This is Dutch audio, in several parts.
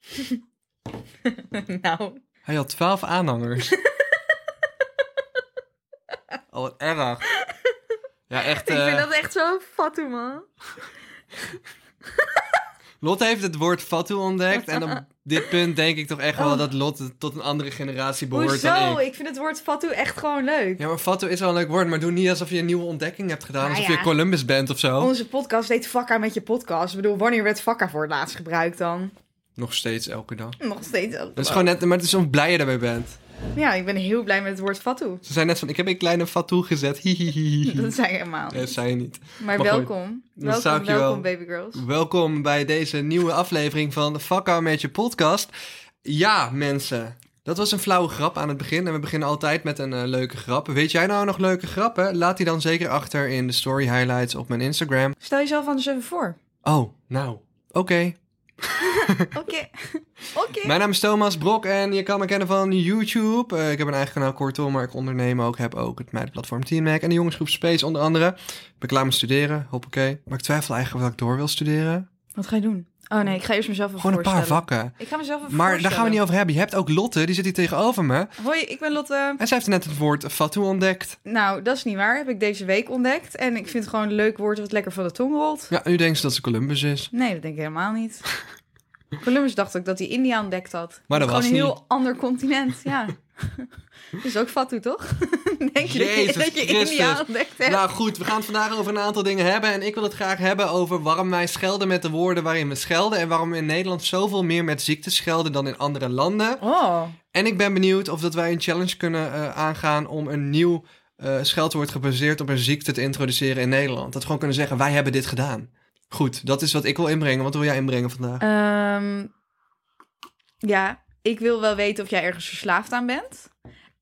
nou, Hij had twaalf aanhangers. oh, wat erg. Ja, echt. ik vind eh, dat echt zo fatsoen, man. Lotte heeft het woord fatu ontdekt. En op dit punt denk ik toch echt wel dat Lotte tot een andere generatie behoort dan Oh. Hoezo? ik. Ik vind het woord fatsoen echt gewoon leuk. Ja, maar fatu is wel een leuk woord, maar doe niet alsof je een nieuwe ontdekking hebt gedaan. Nou alsof ja. Oh. je Columbus bent of zo. Onze podcast deed vakka met je podcast. Ik bedoel, wanneer werd vakka voor het laatst gebruikt dan? Nog steeds elke dag. Nog steeds. ook Dat is wel. gewoon net, maar het is zo blij je daarbij bent. Ja, ik ben heel blij met het woord fatsoen. Ze zijn net van, ik heb een kleine fatu gezet. Hihihi. Dat zei ik helemaal. Dat zei je niet. Maar, goed, welkom. dan zou ik welkom, je wel- welkom, baby girls. Welkom bij deze nieuwe aflevering van de Fuck Out Met Je podcast. Ja, mensen. Dat was een flauwe grap aan het begin. En we beginnen altijd met een eh, leuke grap. Weet jij nou nog leuke grappen? Laat die dan zeker achter in de story highlights op mijn Instagram. Stel jezelf anders even voor. Oh, nou. Oké. Oké. Oké. Mijn naam is Thomas Brok en je kan me kennen van YouTube. Eh, ik heb een eigen kanaal, kortom, maar ik onderneem ook. Heb ook het meidenplatform Teamhack en de jongensgroep Space onder andere. Ik ben klaar met studeren, hoppakee. Maar ik twijfel eigenlijk of ik door wil studeren. Wat ga je doen? Oh nee, ik ga eerst mezelf even Gewoon een paar voorstellen. vakken. Ik ga mezelf even Maar daar gaan we niet over hebben. Je hebt ook Lotte, die zit hier tegenover me. over. Hoi, ik ben Lotte. En zij heeft net het woord fatu ontdekt. Nou, dat is niet waar. Heb ik deze week ontdekt. En ik vind het gewoon een leuk woord wat lekker van de tong rolt. Ja, nu denkt ze dat ze Columbus is. Nee, dat denk ik helemaal niet. Columbus dacht ook dat hij India ontdekt had. Maar dat gewoon was een heel niet. ander continent, ja. dat is ook fatu, toch? denk je dat je, Jezus dat je Christus. India ontdekt hebt? Nou goed, we gaan het vandaag over een aantal dingen hebben. En ik wil het graag hebben over waarom wij schelden met de woorden waarin we schelden. En waarom we in Nederland zoveel meer met ziektes schelden dan in andere landen. Oh, En ik ben benieuwd of dat wij een challenge kunnen eh, aangaan om een nieuw eh, scheldwoord gebaseerd op een ziekte te introduceren in Nederland. Dat we gewoon kunnen zeggen, wij hebben dit gedaan. Goed, dat is wat ik wil inbrengen. Wat wil jij inbrengen vandaag? Ehm, ja, ik wil wel weten of jij ergens verslaafd aan bent.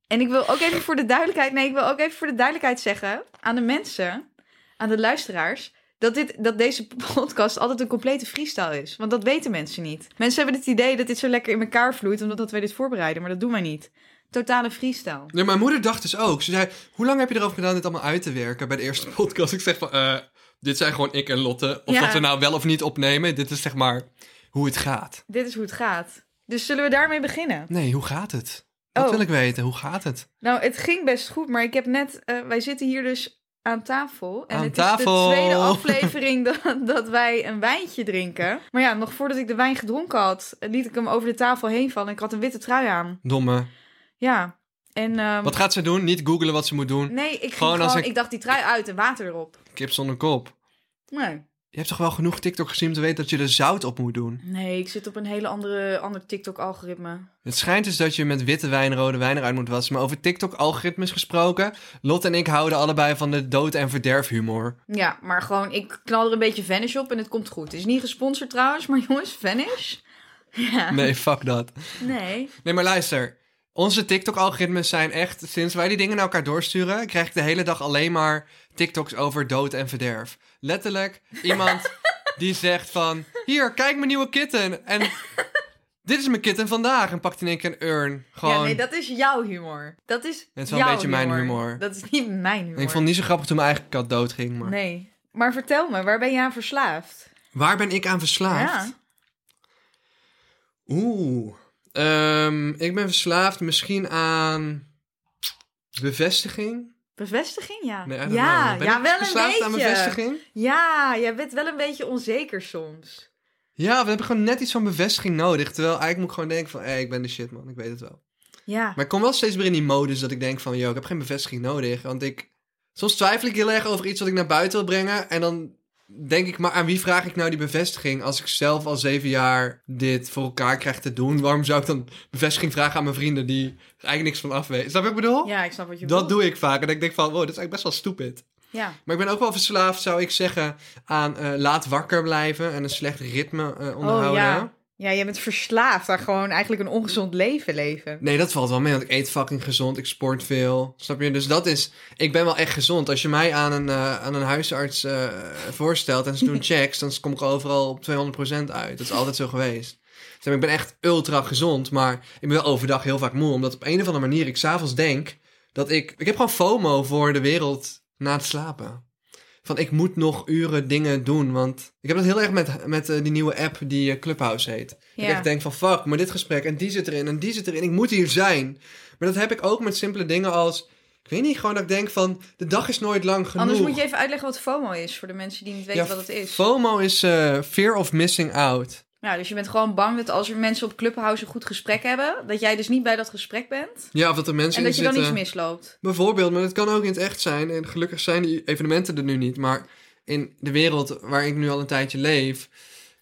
En ik wil ook even voor de duidelijkheid, nee, ik wil ook even voor de duidelijkheid zeggen aan de mensen, aan de luisteraars, dat, dit, dat deze podcast altijd een complete freestyle is. Want dat weten mensen niet. Mensen hebben het idee dat dit zo lekker in elkaar vloeit, omdat dat wij dit voorbereiden, maar dat doen wij niet. Totale freestyle. Nee, mijn moeder dacht dus ook. Ze zei, hoe lang heb je erover gedaan dit allemaal uit te werken bij de eerste podcast? Ik zeg van, eh, dit zijn gewoon ik en Lotte. Of Ja. dat we nou wel of niet opnemen, dit is zeg maar hoe het gaat. Dit is hoe het gaat. Dus zullen we daarmee beginnen? Nee, hoe gaat het? Dat Oh. wil ik weten, hoe gaat het? Nou, het ging best goed, maar ik heb net. eh, wij zitten hier dus aan tafel. En Aan het tafel. is de tweede aflevering dat, dat wij een wijntje drinken. Maar ja, nog voordat ik de wijn gedronken had, eh, liet ik hem over de tafel heen vallen. Ik had een witte trui aan. Domme. Ja. En. ehm, Wat gaat ze doen? Niet googelen wat ze moet doen. Nee, ik, ging Gewoon gewoon als ik- ik dacht die trui uit en water erop. Kip zonder kop. Nee. Je hebt toch wel genoeg TikTok gezien om te weten dat je er zout op moet doen? Nee, ik zit op een hele andere ander TikTok-algoritme. Het schijnt dus dat je met witte wijn rode wijn eruit moet wassen. Maar over TikTok-algoritmes gesproken, Lotte en ik houden allebei van de dood- en verderfhumor. Ja, maar gewoon, ik knal er een beetje Vanish op en het komt goed. Het is niet gesponsord trouwens, maar jongens, Vanish? Ja. Nee, fuck dat. Nee. Nee, maar luister. Onze TikTok-algoritmes zijn echt, sinds wij die dingen naar elkaar doorsturen, krijg ik de hele dag alleen maar TikToks over dood en verderf. Letterlijk iemand die zegt van, hier, kijk mijn nieuwe kitten. En dit is mijn kitten vandaag. En pakt in één keer een urn. Gewoon. Ja, nee, dat is jouw humor. Dat is Het is wel een jouw beetje mijn humor. Dat is niet mijn humor. Ik vond het niet zo grappig toen mijn eigen kat doodging. Maar... Nee. Maar vertel me, waar ben jij aan verslaafd? Waar ben ik aan verslaafd? Ja. Oeh. Ehm, ik ben verslaafd misschien aan bevestiging. Bevestiging, ja. Nee, I don't ja, know. Ben ja, ik wel verslaafd een beetje. aan bevestiging? Ja, jij bent wel een beetje onzeker soms. eh, Ja, we hebben gewoon net iets van bevestiging nodig. Terwijl eigenlijk moet ik gewoon denken van... Hé, ik ben de shit, man. Ik weet het wel. Ja. Maar ik kom wel steeds meer in die modus dat ik denk van... joh, ik heb geen bevestiging nodig. Want ik... Soms twijfel ik heel erg over iets wat ik naar buiten wil brengen. En dan denk ik, maar aan wie vraag ik nou die bevestiging... als ik zelf al zeven jaar dit voor elkaar krijg te doen? Waarom zou ik dan bevestiging vragen aan mijn vrienden... die er eigenlijk niks van af weten? Snap je wat ik bedoel? Ja, ik snap wat je Dat bedoelt. doe ik vaak. En ik denk van, wow, dat is eigenlijk best wel stupid. Ja. Maar ik ben ook wel verslaafd, zou ik zeggen, aan eh, laat wakker blijven en een slecht ritme eh, onderhouden. Oh ja. Ja, jij bent verslaafd aan gewoon eigenlijk een ongezond leven leven. Nee, dat valt wel mee, want ik eet fucking gezond, ik sport veel. Snap je? Dus dat is, ik ben wel echt gezond. Als je mij aan een, eh, aan een huisarts eh, voorstelt en ze doen checks, dan kom ik overal op 200% uit. Dat is altijd zo geweest. Dus ik ben echt ultra gezond, maar ik ben wel overdag heel vaak moe, omdat op een of andere manier ik s'avonds denk dat ik, ik heb gewoon FOMO voor de wereld na het slapen. Van ik moet nog uren dingen doen. Want ik heb dat heel erg met, met eh, die nieuwe app die eh, Clubhouse heet. Dat Ja. ik echt denk van fuck, maar dit gesprek en die zit erin en die zit erin. Ik moet hier zijn. Maar dat heb ik ook met simpele dingen als... Ik weet niet, gewoon dat ik denk van de dag is nooit lang genoeg. Anders moet je even uitleggen wat FOMO is voor de mensen die niet weten wat het is. FOMO is eh, fear of missing out. Ja, dus je bent gewoon bang dat als er mensen op Clubhouse een goed gesprek hebben, dat jij dus niet bij dat gesprek bent. Ja, of dat er mensen En dat je in dan zitten. iets misloopt. Bijvoorbeeld, maar dat kan ook in het echt zijn. En gelukkig zijn die evenementen er nu niet. Maar in de wereld waar ik nu al een tijdje leef...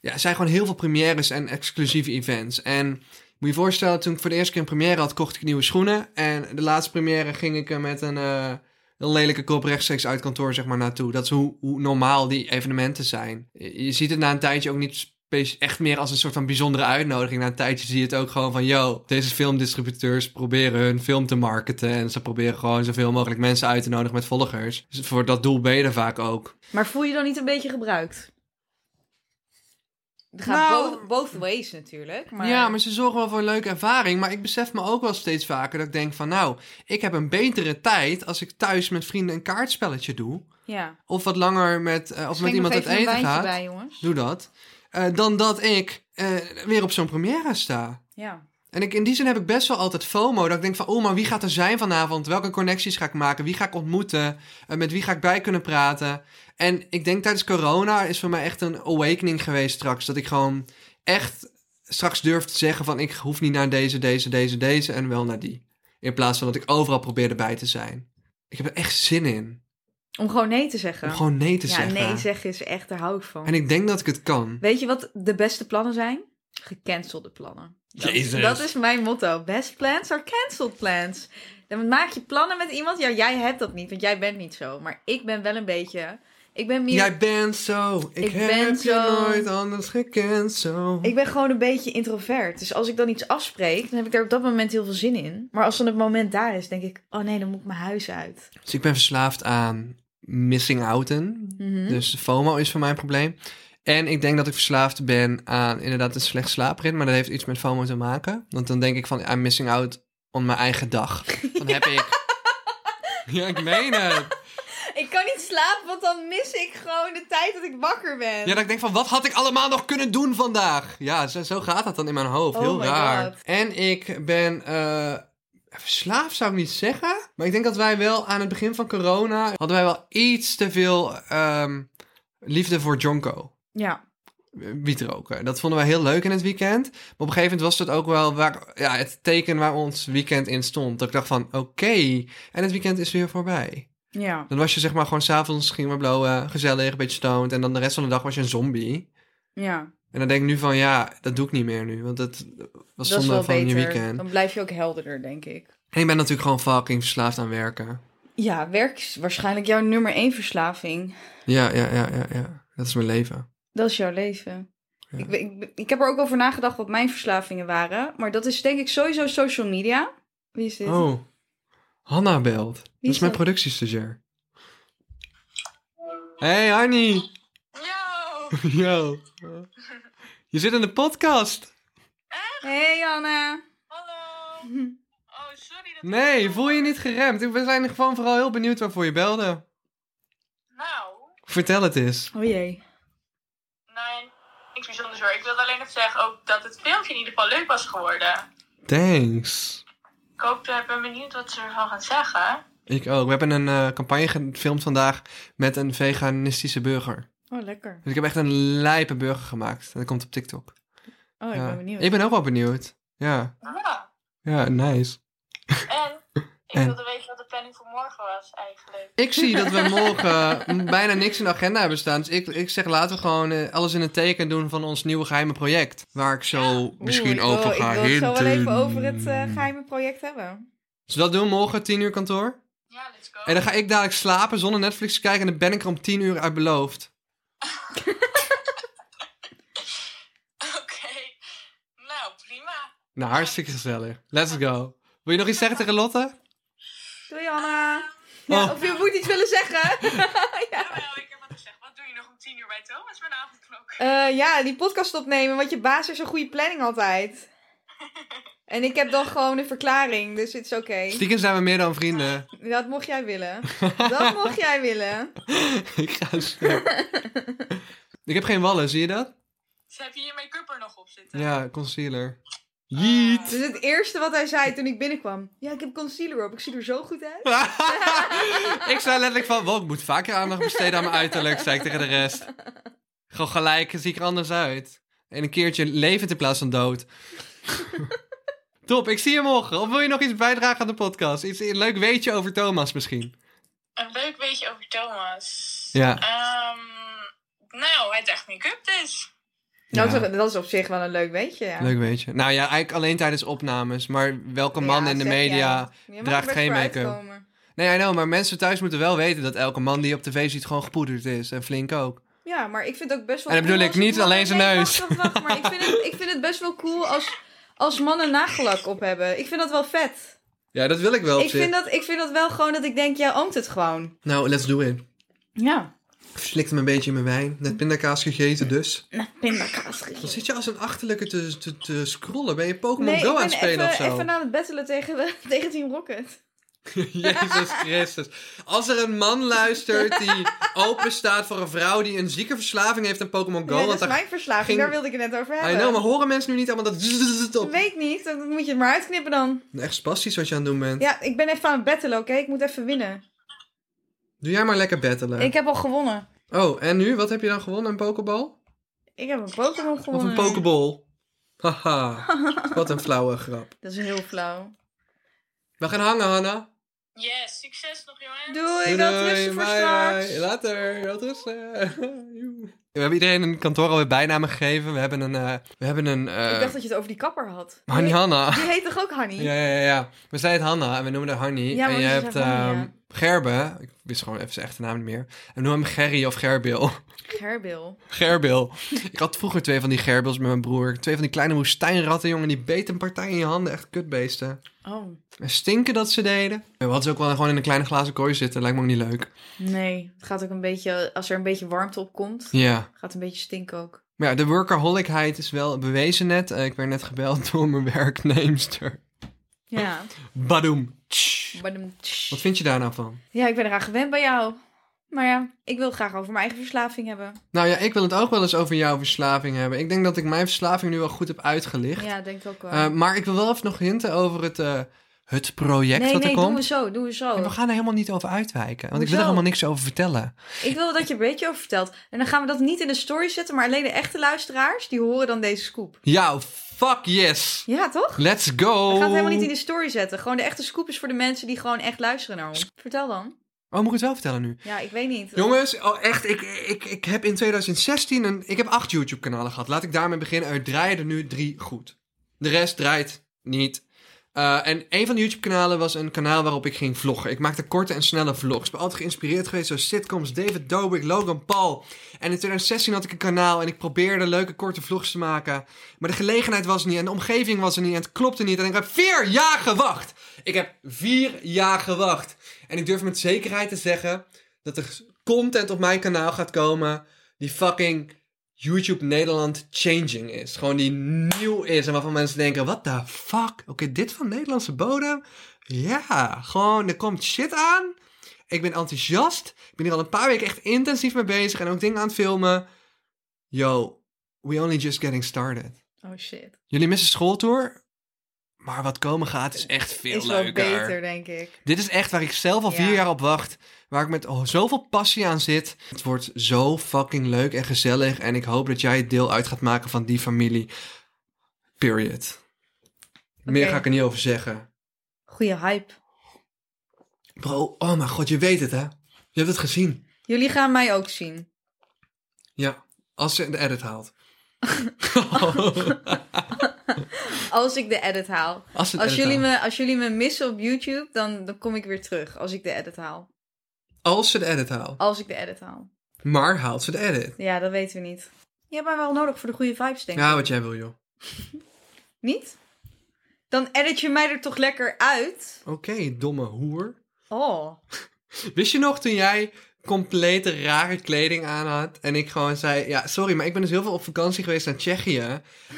Ja, er zijn gewoon heel veel premières en exclusieve events. En moet je je voorstellen, toen ik voor de eerste keer een première had... kocht ik nieuwe schoenen. En de laatste première ging ik er met een, eh, een lelijke kop rechtstreeks uit kantoor zeg maar, naartoe. Dat is hoe, hoe normaal die evenementen zijn. Je je ziet het na een tijdje ook niet... spe- Echt meer als een soort van bijzondere uitnodiging. Na een tijdje zie je het ook gewoon van: yo, deze filmdistributeurs proberen hun film te marketen. En ze proberen gewoon zoveel mogelijk mensen uit te nodigen met volgers. Dus voor dat doel ben je er vaak ook. Maar voel je dan niet een beetje gebruikt? Het gaat Nou- both, both ways natuurlijk. Maar... Ja, maar ze zorgen wel voor een leuke ervaring. Maar ik besef me ook wel steeds vaker dat ik denk van nou, ik heb een betere tijd als ik thuis met vrienden een kaartspelletje doe. Ja. Of wat langer met, eh, of met Schenk nog iemand uit even een eten wijntje gaat. bij, jongens. Doe dat. Eh, dan dat ik eh, weer op zo'n première sta. Ja. En ik, in die zin heb ik best wel altijd FOMO. Dat ik denk van, oh, maar wie gaat er zijn vanavond? Welke connecties ga ik maken? Wie ga ik ontmoeten? Eh, met wie ga ik bij kunnen praten? En ik denk tijdens corona is voor mij echt een awakening geweest straks. Dat ik gewoon echt straks durf te zeggen van... ik hoef niet naar deze, deze, deze, deze en wel naar die. In plaats van dat ik overal probeer erbij te zijn. Ik heb er echt zin in. Om gewoon nee te zeggen. Om gewoon nee te ja, zeggen. nee zeggen is echt, daar hou ik van. En ik denk dat ik het kan. Weet je wat de beste plannen zijn? Gecancelde plannen. Dat, Jezus. dat is mijn motto. Best plans are cancelled plans. Dan maak je plannen met iemand. Ja, jij hebt dat niet, want jij bent niet zo. Maar ik ben wel een beetje... Ik ben meer... Jij bent zo, ik, Ik heb ben je zo. nooit anders gekend zo. Ik ben gewoon een beetje introvert. Dus als ik dan iets afspreek, dan heb ik daar op dat moment heel veel zin in. Maar als dan het moment daar is, denk ik... Oh nee, dan moet ik mijn huis uit. Dus ik ben verslaafd aan missing outen. Mhm. Dus FOMO is voor mij een probleem. En ik denk dat ik verslaafd ben aan inderdaad een slecht slaapritme. Maar dat heeft iets met FOMO te maken. Want dan denk ik van, I'm missing out on mijn eigen dag. Dan heb ik... Ja, ik meen het. Ik kan niet slapen, want dan mis ik gewoon de tijd dat ik wakker ben. Ja, dat ik denk van, wat had ik allemaal nog kunnen doen vandaag? Ja, zo, zo gaat dat dan in mijn hoofd. Oh Heel my raar. God. En ik ben eh, verslaafd, zou ik niet zeggen. Maar ik denk dat wij wel aan het begin van corona... hadden wij wel iets te veel ehm, liefde voor Jonko. Ja. Wiet roken. Dat vonden wij heel leuk in het weekend. Maar op een gegeven moment was dat ook wel waar, ja, het teken waar ons weekend in stond. Dat ik dacht van, oké, en het weekend is weer voorbij. ja. Dan was je zeg maar gewoon s'avonds ging maar blowen, gezellig, een beetje stoned. En dan de rest van de dag was je een zombie. Ja. En dan denk ik nu van, ja, dat doe ik niet meer nu. Want dat was Dat is zonde wel van je beter. weekend. Dan blijf je ook helderder, denk ik. En ik ben natuurlijk gewoon fucking verslaafd aan werken. Ja, werk is waarschijnlijk jouw nummer één verslaving. Ja, ja, ja, ja, ja. Dat is mijn leven. Dat is jouw leven. Ja. Ik, ik, ik heb er ook over nagedacht wat mijn verslavingen waren. Maar dat is denk ik sowieso social media. Wie is dit? Oh, Hanna belt. Dat is is mijn dat? productiestagiair. Hey, Annie. Yo! Yo. Je zit in de podcast. Hey Anna. Hallo! Oh, sorry dat ik- Nee, voel je niet geremd. Ik- We zijn gewoon vooral heel benieuwd waarvoor je belde. Nou, Vertel het eens. Oh jee. nee, niks bijzonders hoor. Ik wilde alleen nog zeggen ook dat het filmpje in ieder geval leuk was geworden. Thanks. Ik hoop, ik ben benieuwd wat ze ervan gaan zeggen. Ik ook. We hebben een eh, campagne gefilmd vandaag met een veganistische burger. Oh lekker. Dus ik heb echt een lijpe burger gemaakt. En dat komt op TikTok. Oh, ik Ja. ben benieuwd. Ik ben ook wel benieuwd. Ja, Ja. ja nice. En ik En? wilde weten wat de planning voor morgen was eigenlijk. Ik zie dat we morgen eh, bijna niks in de agenda hebben staan. Dus ik, ik zeg laten we gewoon eh, alles in het teken doen van ons nieuwe geheime project. Waar ik zo misschien Oeh, ik wil- over ga Ik wil het zo wel hinten. even over het eh, geheime project hebben. Dus dat doen we morgen, 10 uur kantoor. Ja, let's go. En dan ga ik dadelijk slapen zonder Netflix te kijken. En dan ben ik er om 10 uur uit beloofd. Oké. Nou, prima. Nou, hartstikke gezellig. Let's go. Wil je nog iets zeggen tegen Lotte? Doei, Anna. Ja, Oh. Of je moet iets willen zeggen. ja. Jawel, ik heb wat gezegd. Wat doe je nog om tien uur bij Thomas met de avondklok? Eh, ja, die podcast opnemen, want je baas heeft zo'n goede planning altijd. En ik heb dan gewoon een verklaring, dus het is oké. Stiekem zijn we meer dan vrienden. Dat mocht jij willen. Dat mocht jij willen. ik ga stuk. ik heb geen wallen, zie je dat? Dus heb je je make-up er nog op zitten? Ja, concealer. Jeet. Dus het eerste wat hij zei toen ik binnenkwam. Ja, ik heb concealer op. Ik zie er zo goed uit. ik zei letterlijk van, wow, ik moet vaker aandacht besteden aan mijn uiterlijk, zei ik tegen de rest. Gewoon gelijk, zie ik er anders uit. En een keertje levend in plaats van dood. Top, ik zie je morgen. Of wil je nog iets bijdragen aan de podcast? Iets een leuk weetje over Thomas misschien? Een leuk beetje over Thomas. Ja. Ehm, nou, hij draagt make-up dus. Ja. Nou, dat is op- dat is op zich wel een leuk weetje, ja. Leuk weetje. Nou ja, eigenlijk alleen tijdens opnames. Maar welke man Ja, in de zeg jij. media... Je mag er draagt best geen voor make-up. uitkomen. Nee, I know, maar mensen thuis moeten wel weten dat elke man die je op tv ziet gewoon gepoederd is. En flink ook. Ja, maar ik vind het ook best wel En dan bedoel cool ik als niet alleen zijn Nee, neus. Wacht, wacht, wacht, maar ik vind, het, ik vind het best wel cool als, als mannen nagelak op hebben. Ik vind dat wel vet. Ja, dat wil ik wel op Ik zich. vind, dat, ik vind dat wel gewoon dat ik denk, jij oomt het gewoon. Nou, let's do it. Ja. Ik verslikte me een beetje in mijn wijn. Net pindakaas gegeten dus. Nou, Pindakaas Dan gegeten. zit je als een achterlijke te, te, te scrollen. Ben je Pokémon Nee, ik Go aan ben het spelen even, of zo? even aan het battelen tegen, tegen Team Rocket. Jezus Christus. Als er een man luistert die open staat voor een vrouw die een zieke verslaving heeft aan Pokémon Go. Ja, dat want is daar... mijn verslaving, ging- daar wilde ik het net over I hebben. know, maar horen mensen nu niet allemaal dat zzzz op? Weet niet, dan moet je het maar uitknippen dan. Echt spastisch wat je aan het doen bent. Ja, ik ben even aan het battelen, oké? Ik moet even winnen. Doe jij maar lekker battelen. Ik heb al gewonnen. Oh, en nu? Wat heb je dan gewonnen? Een pokeball? Ik heb een Pokémon Of gewonnen. een pokeball? Haha. wat een flauwe grap. Dat is heel flauw. We gaan hangen, Hanna. Yes, succes nog jongens. Doei, dat rusten voor straks. Later, dat rusten. We hebben iedereen in het kantoor alweer bijnamen gegeven. We hebben een... eh, we hebben een eh, ik dacht dat je het over die kapper had. Hanni Die- Hanna. Die heet toch ook Hanny? Ja, ja, ja, ja. We zeiden het Hanna en we noemen haar Hanni. Ja, en maar je ze hebt zegt Hanni, ehm, ja. Gerbe. Ik wist gewoon even zijn echte naam niet meer. En we noemen hem Gerry of Gerbil. Gerbil. Gerbil. Ik had vroeger twee van die Gerbils met mijn broer. Twee van die kleine woestijnratten, jongen. Die beten een partij in je handen. Echt kutbeesten. Oh, En stinken dat ze deden. We hadden ze ook wel gewoon in een kleine glazen kooi zitten. Lijkt me ook niet leuk. nee. Het gaat ook een beetje, als er een beetje warmte op komt, Ja. gaat een beetje stinken ook. Maar ja, de workaholicheid is wel bewezen net. Eh, ik werd net gebeld door mijn werkneemster. Ja. Badoem. Tsch. Maar dan- Wat vind je daar nou van? Ja, ik ben eraan gewend bij jou. Maar ja, ik wil het graag over mijn eigen verslaving hebben. Nou ja, ik wil het ook wel eens over jouw verslaving hebben. Ik denk dat ik mijn verslaving nu wel goed heb uitgelicht. Ja, denk ik ook wel. Eh, maar ik wil wel even nog hinten over het, eh, het project nee, dat nee, er doen komt. we zo, doen we zo. En we gaan er helemaal niet over uitwijken. Want ik wil Oh. Hoezo? er helemaal niks over vertellen. Ik wil dat je er een beetje over vertelt. En dan gaan we dat niet in de story zetten, maar alleen de echte luisteraars, die horen dan deze scoop. Ja, fuck yes. Ja, toch? Let's go. We gaan het helemaal niet in de story zetten. Gewoon de echte scoop is voor de mensen die gewoon echt luisteren naar ons. Vertel dan. Oh, moet ik het wel vertellen nu? Ja, ik weet niet. Jongens, oh echt, ik, ik, ik heb in 2016 een, ik heb acht YouTube-kanalen gehad. Laat ik daarmee beginnen. Er draaien er nu drie goed. De rest draait niet. Eh, en een van de YouTube-kanalen was een kanaal waarop ik ging vloggen. Ik maakte korte en snelle vlogs. Ik ben altijd geïnspireerd geweest door sitcoms, David Dobrik, Logan Paul. En in 2016 had ik een kanaal en ik probeerde leuke korte vlogs te maken. Maar de gelegenheid was er niet en de omgeving was er niet en het klopte niet. En ik heb vier jaar gewacht. Ik heb vier jaar gewacht. En ik durf met zekerheid te zeggen dat er content op mijn kanaal gaat komen die fucking YouTube Nederland changing is. Gewoon die nieuw is en waarvan mensen denken, what the fuck? Oké, dit van Nederlandse bodem? Ja, gewoon, er komt shit aan. Ik ben enthousiast. Ik ben hier al een paar weken echt intensief mee bezig en ook dingen aan het filmen. Yo, we only just getting started. Oh shit. Jullie missen schooltour, maar wat komen gaat is echt veel is wel leuker. beter, denk ik. Dit is echt waar ik zelf al Ja. vier jaar op wacht. Waar ik met oh, zoveel passie aan zit. Het wordt zo fucking leuk en gezellig. En ik hoop dat jij deel uit gaat maken van die familie. Period. Meer Oké. ga ik er niet over zeggen. Goeie hype. Bro, oh mijn god, je weet het hè. Je hebt het gezien. Jullie gaan mij ook zien. Ja, als ze de edit haalt. Als ik de edit haal. als ze de Als edit jullie, haalt. me, als jullie me missen op YouTube, dan, dan kom ik weer terug. Als ik de edit haal. Als ze de edit haalt. Als ik de edit haal. Maar haalt ze de edit. Ja, dat weten we niet. Je hebt mij wel nodig voor de goede vibes, denk ik. Ja, wat jij wil joh. Niet? Dan edit je mij er toch lekker uit? Oké, domme hoer. Oh. Wist je nog toen jij complete rare kleding aan had en ik gewoon zei, ja, sorry, maar ik ben dus heel veel op vakantie geweest naar Tsjechië.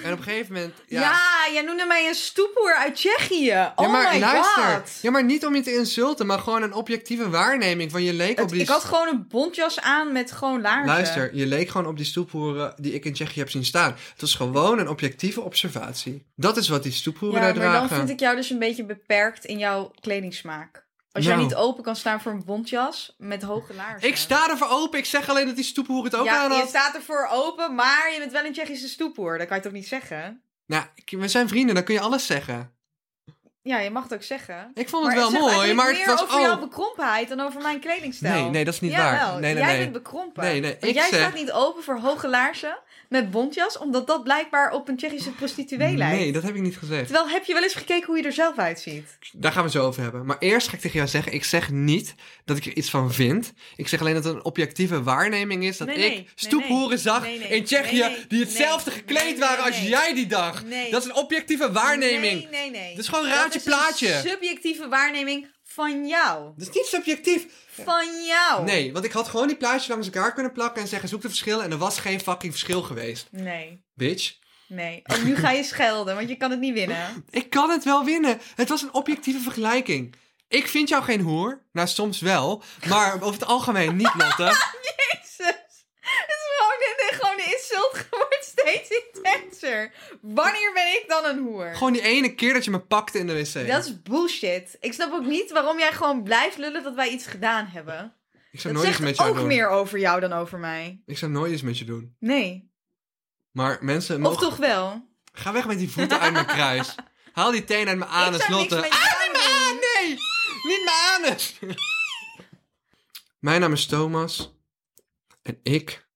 En op een gegeven moment, Ja, ja, jij noemde mij een stoepoer uit Tsjechië. Oh Ja, maar my luister. god. Ja, maar niet om je te insulten, maar gewoon een objectieve waarneming van je leek op Het- die... ik had gewoon een bontjas aan met gewoon laarzen. Luister, je leek gewoon op die stoephoeren die ik in Tsjechië heb zien staan. Het was gewoon een objectieve observatie. Dat is wat die stoephoeren Ja, maar daar dragen. dan vind ik jou dus een beetje beperkt in jouw kledingsmaak. Als jij Nou. niet open kan staan voor een bontjas met hoge laarzen. Ik sta ervoor open, ik zeg alleen dat die stoephoer het ook ja, aan je had. staat ervoor open, maar je bent wel een Tsjechische stoepoer. Dat kan je toch niet zeggen? Nou, ik- we zijn vrienden, dan kun je alles zeggen. Ja, je mag het ook zeggen. Ik vond het Maar wel zegt mooi, eigenlijk maar het meer was... over oh, jouw bekrompenheid dan over mijn kledingstijl. Nee, nee, dat is niet Jawel, waar. Nee, nee, jij nee. bent bekrompen. Nee, nee, Want ik jij zeg- staat niet open voor hoge laarzen met bontjas, omdat dat blijkbaar op een Tsjechische prostituee lijkt. Nee, dat heb ik niet gezegd. Terwijl heb je wel eens gekeken hoe je er zelf uitziet? Daar gaan we het zo over hebben. Maar eerst ga ik tegen jou zeggen, ik zeg niet dat ik er iets van vind. Ik zeg alleen dat het een objectieve waarneming is dat Nee, nee, ik nee, stoephoeren nee. zag Nee, nee, in Tsjechië nee, nee, die hetzelfde nee, gekleed nee, waren nee, als nee. jij die dag. Nee. Dat is een objectieve waarneming. Nee, nee, nee. Dat is gewoon Dat raadje is een plaatje. subjectieve waarneming van jou. Dat is niet subjectief. Van jou. Nee, want ik had gewoon die plaatjes langs elkaar kunnen plakken en zeggen zoek de verschillen en er was geen fucking verschil geweest. Nee. Bitch. Nee. Oh, nu ga je schelden, want je kan het niet winnen. Ik kan het wel winnen. Het was een objectieve vergelijking. Ik vind jou geen hoer. Nou, soms wel. Maar over het algemeen niet, Lotte. Jezus. Het is gewoon, dit is gewoon de insult wordt steeds intenser. Wanneer ben ik dan een hoer? Gewoon die ene keer dat je me pakte in de wc. Dat is bullshit. Ik snap ook niet waarom jij gewoon blijft lullen dat wij iets gedaan hebben. Ik zou Dat nooit iets met zegt jou ook doen. meer over jou dan over mij. Ik zou nooit iets met je doen. Nee. Maar mensen, Of mogen... toch wel? ga weg met die voeten uit mijn kruis. Haal die teen uit mijn ik anus, zou niks Lotte. met jou doen. Ah, nee! Niet mijn anus! mijn naam is Thomas. En ik...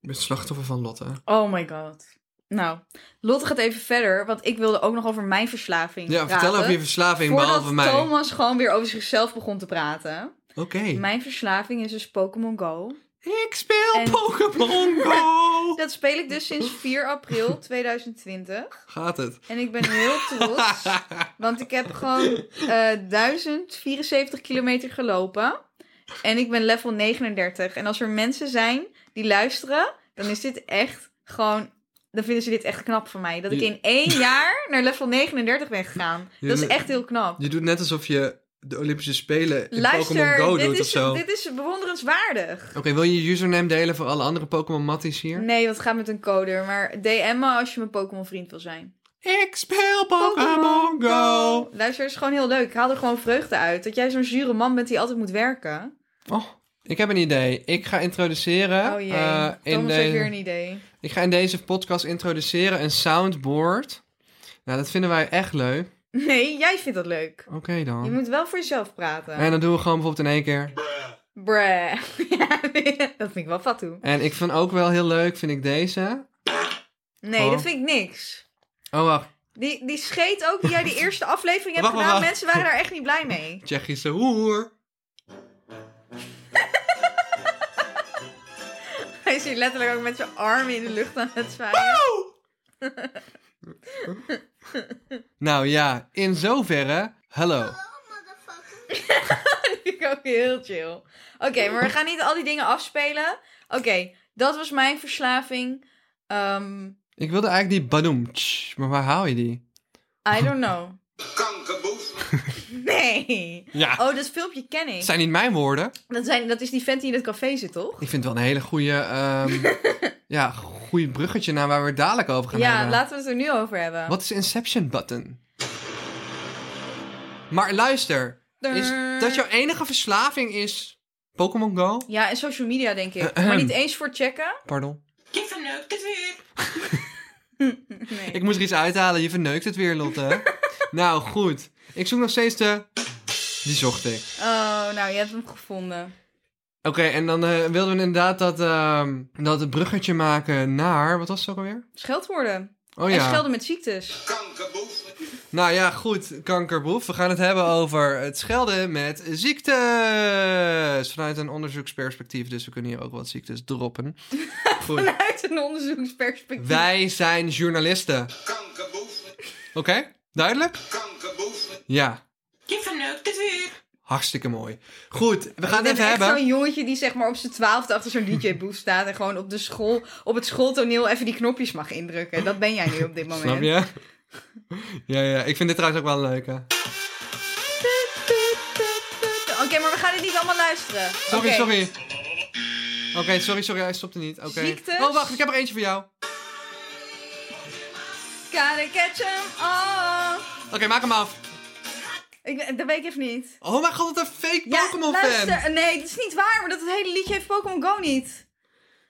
ben slachtoffer van Lotte. Oh my god. Nou, Lotte gaat even verder, want ik wilde ook nog over mijn verslaving Ja, praten. vertel over je verslaving, behalve eh, Voordat mij. Thomas gewoon weer over zichzelf begon te praten. Oké. Mijn verslaving is dus Pokémon Go. Ik speel En- Pokémon Go! Dat speel ik dus sinds 4 april 2020. Gaat het? En ik ben heel trots, want ik heb gewoon eh 1074 kilometer gelopen. En ik ben level 39. En als er mensen zijn die luisteren, dan is dit echt gewoon... Dan vinden ze dit echt knap van mij. Dat ik in één jaar naar level 39 ben gegaan. Dat is echt heel knap. je doet net alsof je de Olympische Spelen in Pokémon Luister, Go dit, doet of is, zo. dit is bewonderenswaardig. Oké, wil je je username delen voor alle andere Pokémon Matties hier? Nee, dat gaat met een code. Maar DM me als je mijn Pokémon vriend wil zijn. Ik speel Pokémon Go! Luister, het is gewoon heel leuk. Ik haal er gewoon vreugde uit. Dat jij zo'n zure man bent die altijd moet werken. Oh, ik heb een idee. Ik ga introduceren... oh jee, eh, Thomas in heeft deze, weer een idee. ik ga in deze podcast introduceren een soundboard. Nou, dat vinden wij echt leuk. Nee, jij vindt dat leuk. Oké Je dan. moet wel voor jezelf praten. Oh. En dan doen we gewoon bijvoorbeeld in één keer. Bruh. Ja, dat vind ik wel fat toe. En ik vind ook wel heel leuk, vind ik deze. Nee, Oh. dat vind ik niks. Oh, wacht. Die, die scheet ook die jij de eerste aflevering hebt Wacht, wacht, gedaan. wacht. Mensen waren daar echt niet blij mee. Tsjechische hoer. Hij is hier letterlijk ook met zijn armen in de lucht aan het zwaaien. Nou ja, in zoverre. Hallo. vind ik ook heel chill. Oké, maar we gaan niet al die dingen afspelen. Oké, dat was mijn verslaving. Ehm, Ik wilde eigenlijk die Badoem. tsch, Maar waar haal je die? I don't know. Nee. Ja. Oh, dat filmpje ken ik. Het zijn niet mijn woorden. Dat, zijn, dat is die vent die in het café zit, toch? Ik vind het wel een hele goede, ehm ja, goeie bruggetje naar waar we het dadelijk over gaan Ja, hebben. laten we het er nu over hebben. Wat is de Inception Button? Maar luister, is dat jouw enige verslaving is Pokémon Go? Ja, en social media, denk ik. Ahem. Maar niet eens voor checken. Pardon. Je verneukt het weer. Nee. Ik moest er iets uithalen, je verneukt het weer, Lotte. Nou, goed. Ik zoek nog steeds de... Die zocht ik. Oh, nou, je hebt hem gevonden. Oké, en dan eh, wilden we inderdaad dat, ehm, dat het bruggetje maken naar... Wat was het ook alweer? Scheldwoorden. Oh En ja. schelden met ziektes. Nou ja, goed. Kankerboef. We gaan het hebben over het schelden met ziektes. Vanuit een onderzoeksperspectief. Dus we kunnen hier ook wat ziektes droppen. Goed. Uit een onderzoeksperspectief. Wij zijn journalisten. Oké, duidelijk? Ja, Je verneukt het weer. hartstikke mooi. Goed, we gaan Ik het ben even echt hebben. zo'n jongetje die zeg maar op zijn twaalfde achter zo'n DJ-boef staat... en gewoon op, de school, op het schooltoneel even die knopjes mag indrukken. Dat ben jij nu op dit moment. Snap je? ja, ja, ik vind dit trouwens ook wel een leuke. Oké, maar we gaan dit niet allemaal luisteren. Sorry, Oké. sorry. Oké, sorry, sorry, hij stopte niet. Oké. Ziektes? Oh, wacht, ik heb er eentje voor jou. Gotta catch 'em all. Oké, maak hem af. Ik, ben- dat weet ik even niet. Oh mijn god, wat een fake Ja, Pokémon-fan. luister, nee, dat is niet waar, maar dat het hele liedje heeft Pokémon Go niet.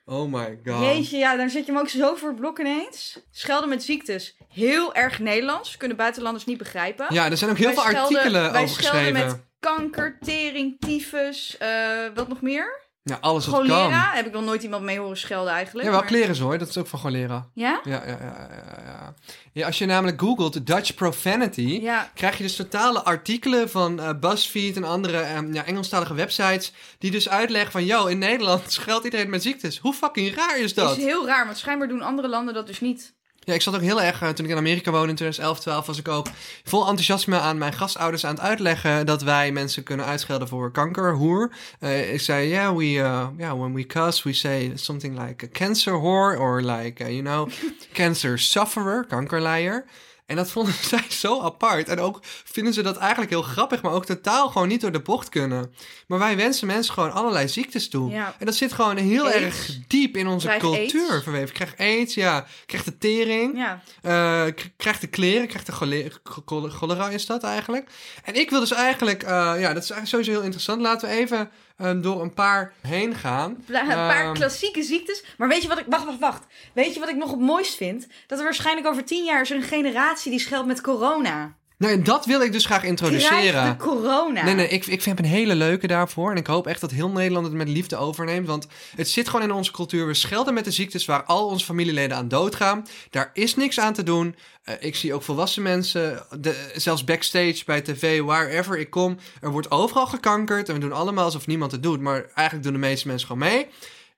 Oh my god. Jeetje, ja, dan zet je hem ook zo voor het blok ineens. Schelden met ziektes. Heel erg Nederlands, kunnen buitenlanders niet begrijpen. Ja, er zijn ook heel Wij veel schelden- artikelen wij over schelden geschreven. met kanker, tering, tyfus, eh, wat nog meer? Ja, alles wat kan. Cholera, heb ik nog nooit iemand mee horen schelden eigenlijk. Ja, wel maar- kleren hoor, dat is ook van cholera. Ja? Ja, ja, ja, ja, ja. ja als je namelijk googelt Dutch profanity, Ja. krijg je dus totale artikelen van eh, BuzzFeed en andere eh, ja, Engelstalige websites, die dus uitleggen van, yo, in Nederland schuilt iedereen met ziektes. Hoe fucking raar is dat? is heel raar, want schijnbaar doen andere landen dat dus niet. Ja, ik zat ook heel erg, eh, toen ik in Amerika woonde in 2011, 12, was ik ook vol enthousiasme aan mijn gastouders aan het uitleggen dat wij mensen kunnen uitschelden voor kanker, hoer. Eh, ik zei, yeah, we, eh, yeah, when we cuss, we say something like a cancer whore or like, eh, you know, cancer sufferer, kankerleier. En dat vonden zij zo apart. En ook vinden ze dat eigenlijk heel grappig, maar ook totaal gewoon niet door de bocht kunnen. Maar wij wensen mensen gewoon allerlei ziektes toe. Ja. En dat zit gewoon heel Aids. erg diep in onze Krijg cultuur aids. verweven. Ik krijg aids, ja. Ik krijg de tering. Ja. Eh, k- krijgt de kleren, krijgt de chole- ch- chole- cholera is dat eigenlijk. En ik wil dus eigenlijk, eh, ja, dat is eigenlijk sowieso heel interessant. Laten we even ehm, door een paar heen gaan. Pla- Een paar Ehm, klassieke ziektes. Maar weet je wat ik. Wacht, wacht, wacht. Weet je wat ik nog het mooist vind? Dat er waarschijnlijk over tien jaar is er een generatie die scheldt met corona. Nou, en dat wil ik dus graag Krijg de introduceren. corona. Nee, nee, ik, ik vind hem een hele leuke daarvoor. En ik hoop echt dat heel Nederland het met liefde overneemt. Want het zit gewoon in onze cultuur. We schelden met de ziektes waar al onze familieleden aan doodgaan. Daar is niks aan te doen. Eh, ik zie ook volwassen mensen, de, zelfs backstage bij tv, wherever ik kom. Er wordt overal gekankerd. En we doen allemaal alsof niemand het doet. Maar eigenlijk doen de meeste mensen gewoon mee.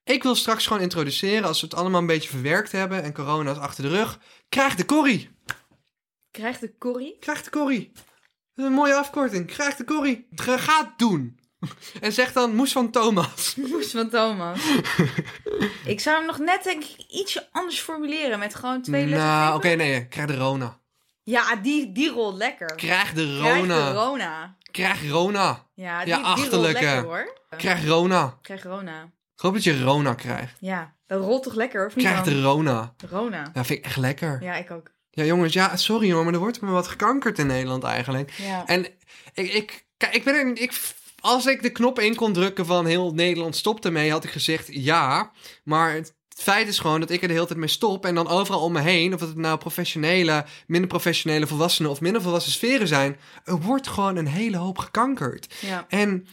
Ik wil straks gewoon introduceren, als we het allemaal een beetje verwerkt hebben en corona is achter de rug. Krijg de corrie! Krijgt de corrie? Krijg de korrie. Dat is een mooie afkorting. Krijg de korrie. Ga gaat doen. En zeg dan moes van Thomas. Moest van Thomas. ik zou hem nog net denk ik ietsje anders formuleren. Met gewoon twee letters. nou, oké, nee. Krijg de Rona. Ja, die, die rolt lekker. Krijg de Krijg de Rona. Rona. Krijg Rona. Ja, die, Ja, die rolt achterlijke. lekker hoor. Krijg Rona. Krijg Rona. Ik hoop dat je Rona krijgt. Ja, dat rolt toch lekker of niet? Krijg dan? de Rona. Rona. Ja, vind ik echt lekker. Ja, ik ook. Ja, jongens, ja, sorry hoor, maar er wordt me wat gekankerd in Nederland eigenlijk. Ja. En ik, ik, kijk, ik ben er, niet- ik, als ik de knop in kon drukken van heel Nederland stopt ermee, had ik gezegd ja. Maar het feit is gewoon dat ik er de hele tijd mee stop en dan overal om me heen, of het nou professionele, minder professionele volwassenen of minder volwassen sferen zijn, er wordt gewoon een hele hoop gekankerd. ja. En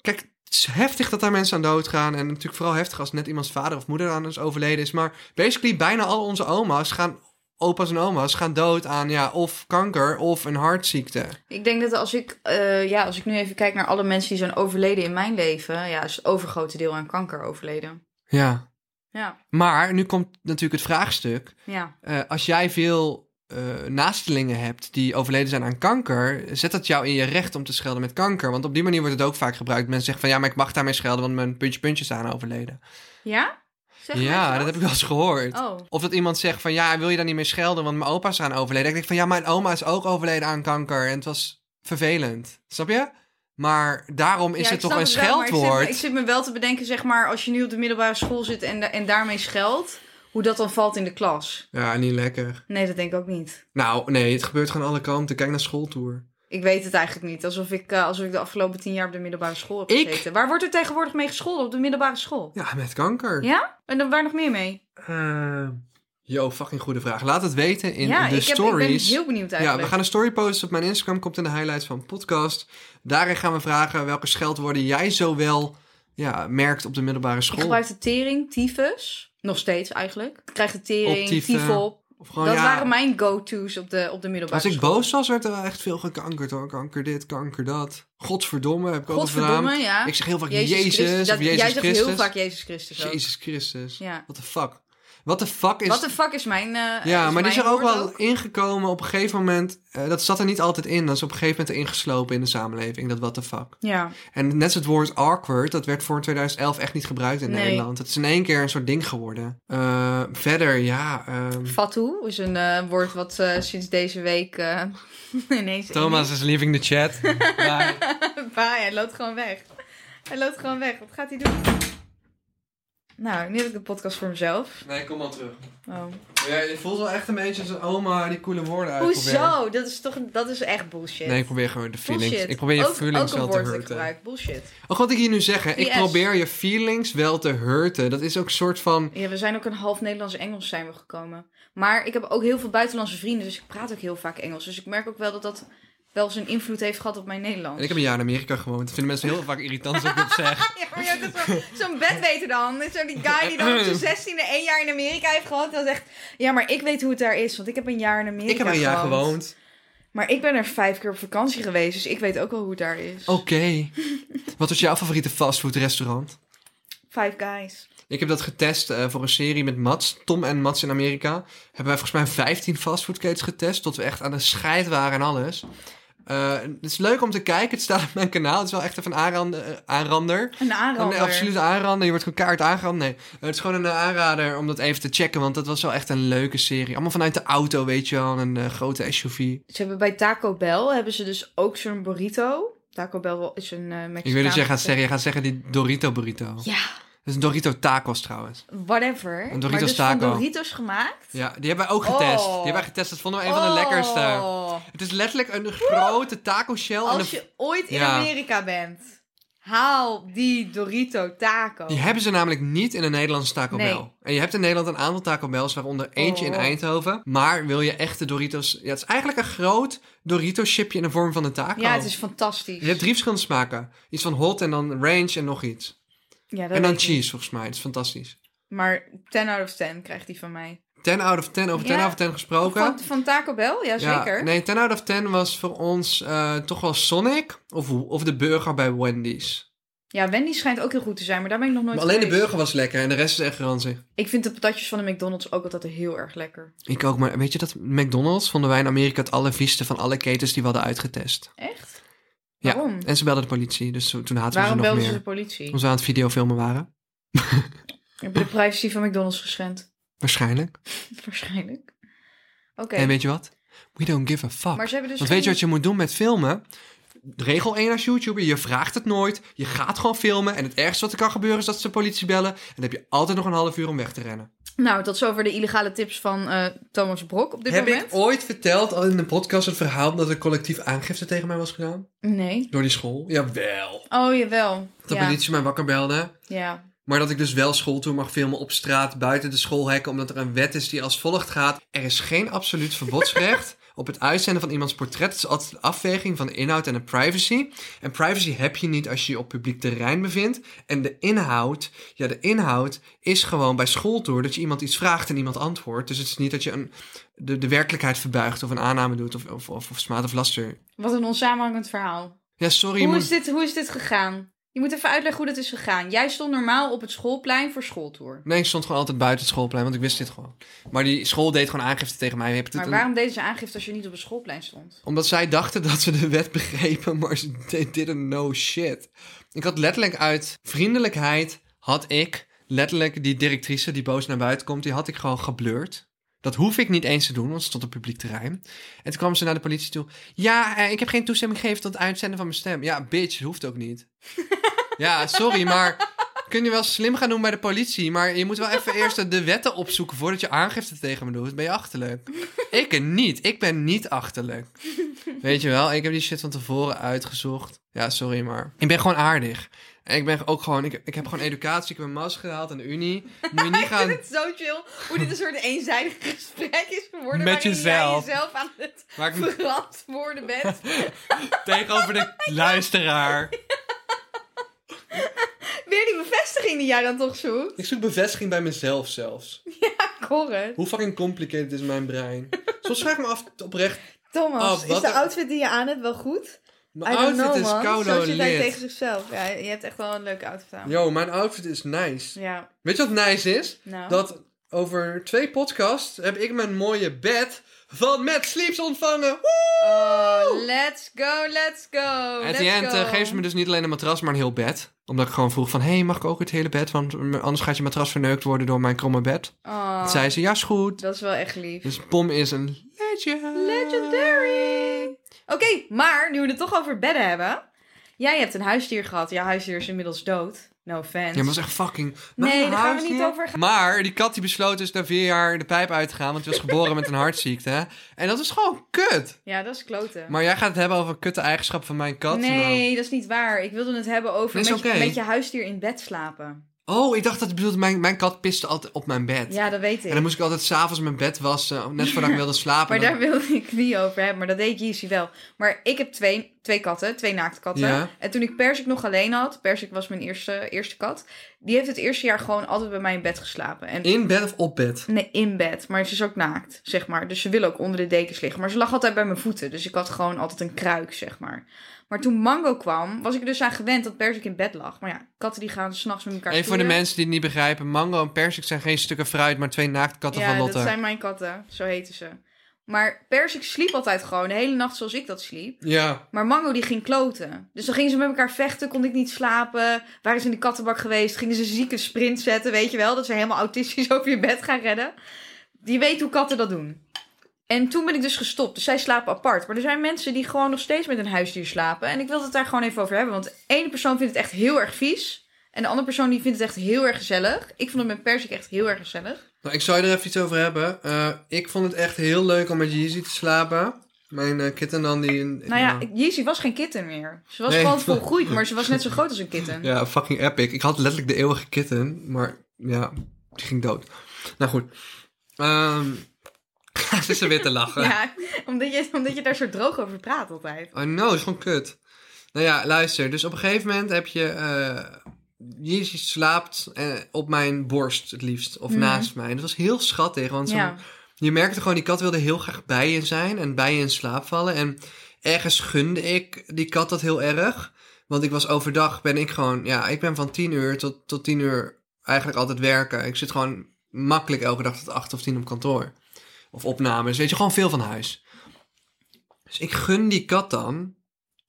kijk, het is heftig dat daar mensen aan doodgaan. En natuurlijk vooral heftig als net iemands vader of moeder aan is overleden is. Maar basically bijna al onze oma's gaan, opa's en oma's gaan dood aan ja, of kanker of een hartziekte. Ik denk dat als ik, eh, ja, als ik nu even kijk naar alle mensen die zijn overleden in mijn leven, ja, is het overgrote deel aan kanker overleden. Ja. Ja, Maar nu komt natuurlijk het vraagstuk. ja. Eh, als jij veel eh, naastelingen hebt die overleden zijn aan kanker, zet dat jou in je recht om te schelden met kanker. Want op die manier wordt het ook vaak gebruikt. Mensen zeggen van ja, maar ik mag daarmee schelden, want mijn puntje puntjes aan overleden. Ja? Zeg ja, dat heb ik wel eens gehoord. Oh, Of dat iemand zegt van ja, wil je daar niet mee schelden, want mijn opa is aan overleden. Ik denk van ja, mijn oma is ook overleden aan kanker en het was vervelend. Snap je? Maar daarom is Ja, ik het toch snap een wel, maar ik zit me- scheldwoord. Ik zit, me wel te bedenken, zeg maar, als je nu op de middelbare school zit en, da- en daarmee scheldt, hoe dat dan valt in de klas. Ja, niet lekker. Nee, dat denk ik ook niet. Nou, nee, het gebeurt gewoon alle kanten. Kijk naar schooltour. Ik weet het eigenlijk niet. Alsof ik, eh, alsof ik de afgelopen tien jaar op de middelbare school heb Ik- gezeten. Waar wordt er tegenwoordig mee gescholden op de middelbare school? Ja, met kanker. Ja? En dan waar nog meer mee? Eh, Yo, fucking goede vraag. Laat het weten in ja, de ik, heb, ik ben stories. heel benieuwd ja, eigenlijk. we gaan een story posten op mijn Instagram. Komt in de highlights van podcast. Daarin gaan we vragen welke scheldwoorden jij zo wel ja, merkt op de middelbare Ik school. gebruikte tering, tyfus. Nog steeds eigenlijk. Ik krijg de tering, Optief, eh, tyfel. Of gewoon, Dat ja, waren mijn go-to's op de, op de middelbare Als ik school. boos was, werd er wel echt veel gekankerd hoor. Kanker dit, kanker dat. Godverdomme, heb ik ook al Godverdomme, gedaan. ja. Ik zeg heel vaak Jezus, Jezus, Christus. of Dat- Jezus jij zegt Christus. heel vaak Jezus Christus ook. Jezus Christus. Ja. What the fuck? What the fuck is... Wat de fuck is mijn... eh, ja, maar die is mijn er ook woord wel ingekomen op een gegeven moment. eh, dat zat er niet altijd in. Dat is op een gegeven moment ingeslopen in de samenleving, dat what the fuck. Ja. En net als het woord awkward, dat werd voor 2011 echt niet gebruikt in Nee. Nederland. Het is in één keer een soort ding geworden. Eh, verder, ja... ehm, Fatu is een eh, woord wat eh, sinds deze week eh, ineens... Thomas is leaving the chat. Bye. Bye, hij loopt gewoon weg. Hij loopt gewoon weg. Wat gaat hij doen? Nou, nu heb ik de podcast voor mezelf. Nee, kom al terug. Oh. Ja, je voelt wel echt een beetje als een oma die coole woorden uitprobeert. Hoezo? Dat is toch... Dat is echt bullshit. Nee, ik probeer gewoon de feelings. Bullshit. Ik probeer je ook, feelings ook wel een te woord dat ik hurten. gebruik. Bullshit. Ook wat ik hier nu zeg, hè, ik PS. probeer je feelings wel te hurten. Dat is ook een soort van... Ja, we zijn ook een half Nederlands-Engels zijn we gekomen. Maar ik heb ook heel veel buitenlandse vrienden, dus ik praat ook heel vaak Engels. Dus ik merk ook wel dat dat wel zijn invloed heeft gehad op mijn Nederlands. En ik heb een jaar in Amerika gewoond. Dat vinden mensen heel vaak irritant als ik dat zeg. Ja, maar je hebt ook zo- zo'n bedweter dan. Zo die guy die dan op zijn zestiende één jaar in Amerika heeft gehad. Dat zegt, ja, maar ik weet hoe het daar is, want ik heb een jaar in Amerika ik heb een jaar gewoond. gewoond. Maar ik ben er vijf keer op vakantie geweest, dus ik weet ook wel hoe het daar is. Oké. Wat was jouw favoriete fastfoodrestaurant? Five guys. Ik heb dat getest eh, voor een serie met Mats. Tom en Mats in Amerika. Hebben wij volgens mij 15 fastfoodketens getest. Tot we echt aan de scheid waren en alles. Eh, het is leuk om te kijken. Het staat op mijn kanaal. Het is wel echt even een aanrander. eh, aanrander. Een Een aanrander. absolute aanrader. Je wordt gewoon kaart aangerand. Nee, Eh, het is gewoon een eh, aanrader om dat even te checken. Want dat was wel echt een leuke serie. Allemaal vanuit de auto, weet je wel. Een eh, grote SUV. Ze hebben bij Taco Bell hebben ze dus ook zo'n burrito. Taco Bell is een eh Ik weet dat jij gaat Mexicaanse- zeggen, je gaat zeggen die Dorito burrito. Ja, Dat is een Dorito tacos trouwens. whatever. Een Doritos maar dus taco. van Doritos gemaakt. Ja, die hebben wij ook getest. Die hebben wij getest. Dat vonden we een van de lekkerste. Oh. Het is letterlijk een grote taco shell. en Als een- je ooit in Ja. Amerika bent, haal die Dorito taco. Die hebben ze namelijk niet in een Nederlandse Taco Nee. Bell. En je hebt in Nederland een aantal Taco Bells, waaronder eentje in Oh. Eindhoven. Maar wil je echte Doritos... Ja, het is eigenlijk een groot Dorito-chipje in de vorm van een taco. ja, het is fantastisch. Je hebt drie verschillende smaken. Iets van hot en dan range en nog iets. Ja, dat En dan weet ik. cheese, volgens mij. Het is fantastisch. Maar 10 out of 10 krijgt die van mij. 10 out of 10, over 10 Ja. out of 10 gesproken. Van, van Taco Bell? Ja, zeker. nee, 10 out of 10 was voor ons eh, toch wel Sonic of, of de burger bij Wendy's. Ja, Wendy schijnt ook heel goed te zijn, maar daar ben ik nog nooit Maar alleen de geweest. burger was lekker en de rest is echt ranzig. Ik vind de patatjes van de McDonald's ook altijd heel erg lekker. Ik ook, maar weet je dat McDonald's vonden wij in Amerika het allervieste van alle ketens die we hadden uitgetest. Echt? Ja. Waarom? En ze belden de politie, dus zo- toen haten Hm. Waarom we ze nog belden ze de meer. politie? Omdat we aan het videofilmen waren. Heb je de privacy van McDonald's geschend? Waarschijnlijk. Waarschijnlijk. Oké. En weet je wat? We don't give a fuck. Maar ze hebben dus Want weet je geen- wat je moet doen met filmen? Regel 1 als YouTuber, je vraagt het nooit. Je gaat gewoon filmen. En het ergste wat er kan gebeuren is dat ze de politie bellen. En dan heb je altijd nog een half uur om weg te rennen. Nou, tot zover de illegale tips van eh, Thomas Brok op dit Heb moment. ik ooit verteld al in een podcast het verhaal dat er collectief aangifte tegen mij was gedaan? Nee. Door die school? Jawel. Oh, jawel. Dat de ja. politie mij wakker belde. ja. Maar dat ik dus wel schooltour mag filmen op straat, buiten de schoolhekken, omdat er een wet is die als volgt gaat. Er is geen absoluut verbodsrecht op het uitzenden van iemands portret. Het is altijd een afweging van de inhoud en de privacy. En privacy heb je niet als je je op publiek terrein bevindt. En de inhoud, ja, de inhoud is gewoon bij schooltour dat je iemand iets vraagt en iemand antwoordt. Dus het is niet dat je een, de, de werkelijkheid verbuigt of een aanname doet of, of, of, of smaad of laster. Wat een onsamenhangend verhaal. Ja, sorry. Hoe moet- is, dit, hoe is dit gegaan? Je moet even uitleggen hoe dit is gegaan. Jij stond normaal op het schoolplein voor schooltour. Nee, ik stond gewoon altijd buiten het schoolplein, want ik wist dit gewoon. Maar die school deed gewoon aangifte tegen mij. Je hebt het Maar een- waarom deden ze aangifte als je niet op het schoolplein stond? Omdat zij dachten dat ze de wet begrepen, maar ze they didn't know shit. Ik had letterlijk uit vriendelijkheid, had ik letterlijk die directrice die boos naar buiten komt, die had ik gewoon geblurred. Dat hoef ik niet eens te doen, want ze stond op publiek terrein. En toen kwam ze naar de politie toe. Ja, eh, ik heb geen toestemming gegeven tot het uitzenden van mijn stem. Ja, bitch, dat hoeft ook niet. ja, sorry, maar kun je wel slim gaan doen bij de politie. Maar je moet wel even eerst de wetten opzoeken voordat je aangifte tegen me doet. Ben je achterlijk? Ik niet. Ik ben niet achterlijk. Weet je wel, ik heb die shit van tevoren uitgezocht. Ja, sorry, maar ik ben gewoon aardig. En ik ben ook gewoon, ik, ik heb gewoon educatie, ik heb mijn mas gehaald aan de Unie. Moet je niet gaan. Het is zo chill hoe dit een soort eenzijdig gesprek is geworden. Met waarin jezelf. jij jezelf aan het Waar ik me verantwoorden bent. tegenover de luisteraar. Weer die bevestiging die jij dan toch zoekt. Ik zoek bevestiging bij mezelf zelfs. Ik hoor het. Hoe fucking complicated is mijn brein? Soms vraag ik me af oprecht. Thomas, Oh, wat is de een- outfit die je aan hebt wel goed? Mijn I don't outfit know, is man. koud Zo en zit hij tegen lid. zichzelf. Ja, je hebt echt wel een leuke outfit aan. Yo, mijn outfit is nice. Ja, Weet je wat nice is? nou. Dat over twee podcasts heb ik mijn mooie bed van Matt Sleeps ontvangen. Oh, let's go, let's go. At let's the end go. eh, geven ze me dus niet alleen een matras, maar een heel bed. Omdat ik gewoon vroeg van, hé, hey, mag ik ook het hele bed? Want anders gaat je matras verneukt worden door mijn kromme bed. Oh, Toen zei ze, ja, is goed. Dat is wel echt lief. Dus Pom is een legend. Legendary! Oké, maar nu we het toch over bedden hebben. Jij hebt een huisdier gehad. Jouw huisdier is inmiddels dood. No Ja, offense. maar dat is echt fucking... Nee, Mijn daar gaan we huisdier. niet over gaan. Maar die kat die besloot dus na vier jaar de pijp uit te gaan, want die was geboren met een hartziekte. hè. En dat is gewoon kut. Ja, dat is kloten. Maar jij gaat het hebben over kutte eigenschappen van mijn kat. nee, dat is niet waar. Ik wilde het hebben over Dat is met, oké. je, met je huisdier in bed slapen. Oh, ik dacht dat je bedoelde, mijn, mijn kat piste altijd op mijn bed. Ja, dat weet ik. En dan moest ik altijd s'avonds mijn bed wassen, net voordat ik wilde slapen. Maar Dan- daar wilde ik niet over hebben. Maar dat deed Yeezy wel. Maar ik heb twee, twee katten, twee naaktkatten. Ja. En toen ik Persik nog alleen had, Persik was mijn eerste, eerste kat. Die heeft het eerste jaar gewoon altijd bij mij in bed geslapen. En In bed of op bed? Nee, in bed. Maar ze is ook naakt, zeg maar. Dus ze wil ook onder de dekens liggen. Maar ze lag altijd bij mijn voeten. Dus ik had gewoon altijd een kruik, zeg maar. Maar toen Mango kwam, was ik er dus aan gewend dat Persik in bed lag. Maar ja, katten die gaan s'nachts met elkaar Even voor de stoeien. mensen die het niet begrijpen. Mango en persik zijn geen stukken fruit, maar twee naaktkatten van Ja, Lotte. dat zijn mijn katten. Zo heten ze. Maar Persik sliep altijd gewoon de hele nacht zoals ik dat sliep. Ja. Maar Mango die ging kloten. Dus dan gingen ze met elkaar vechten, kon ik niet slapen. Waren ze in de kattenbak geweest, gingen ze zieke sprint zetten, weet je wel. Dat ze helemaal autistisch over je bed gaan redden. Die weet hoe katten dat doen. En toen ben ik dus gestopt. Dus zij slapen apart. Maar er zijn mensen die gewoon nog steeds met een huisdier slapen. En ik wil het daar gewoon even over hebben. Want de ene persoon vindt het echt heel erg vies. En de andere persoon die vindt het echt heel erg gezellig. Ik vond het met Persik echt heel erg gezellig. Nou, ik zou je er even iets over hebben. Eh, ik vond het echt heel leuk om met Yeezy te slapen. Mijn eh, kitten dan die... in- Nou ja, ik- Yeezy was geen kitten meer. Ze was Nee. gewoon volgroeid, maar ze was net zo groot als een kitten. Ja, fucking epic. Ik had letterlijk de eeuwige kitten, maar ja, die ging dood. Nou goed. Ehm ze is er weer te lachen. Ja, omdat je, omdat je daar zo droog over praat altijd. Oh no, is gewoon kut. Nou ja, luister. Dus op een gegeven moment heb je... eh Yeezy slaapt eh, op mijn borst het liefst. Of Mhm. naast mij. En dat was heel schattig. Want zo'n- Ja, je merkte gewoon, die kat wilde heel graag bij je zijn. En bij je in slaap vallen. En ergens gunde ik die kat dat heel erg. Want ik was overdag, ben ik gewoon... Ja, ik ben van 10 uur tot, tot 10 uur eigenlijk altijd werken. Ik zit gewoon makkelijk elke dag tot 8 of 10 op kantoor. Of opnames. Weet je, gewoon veel van huis. Dus ik gun die kat dan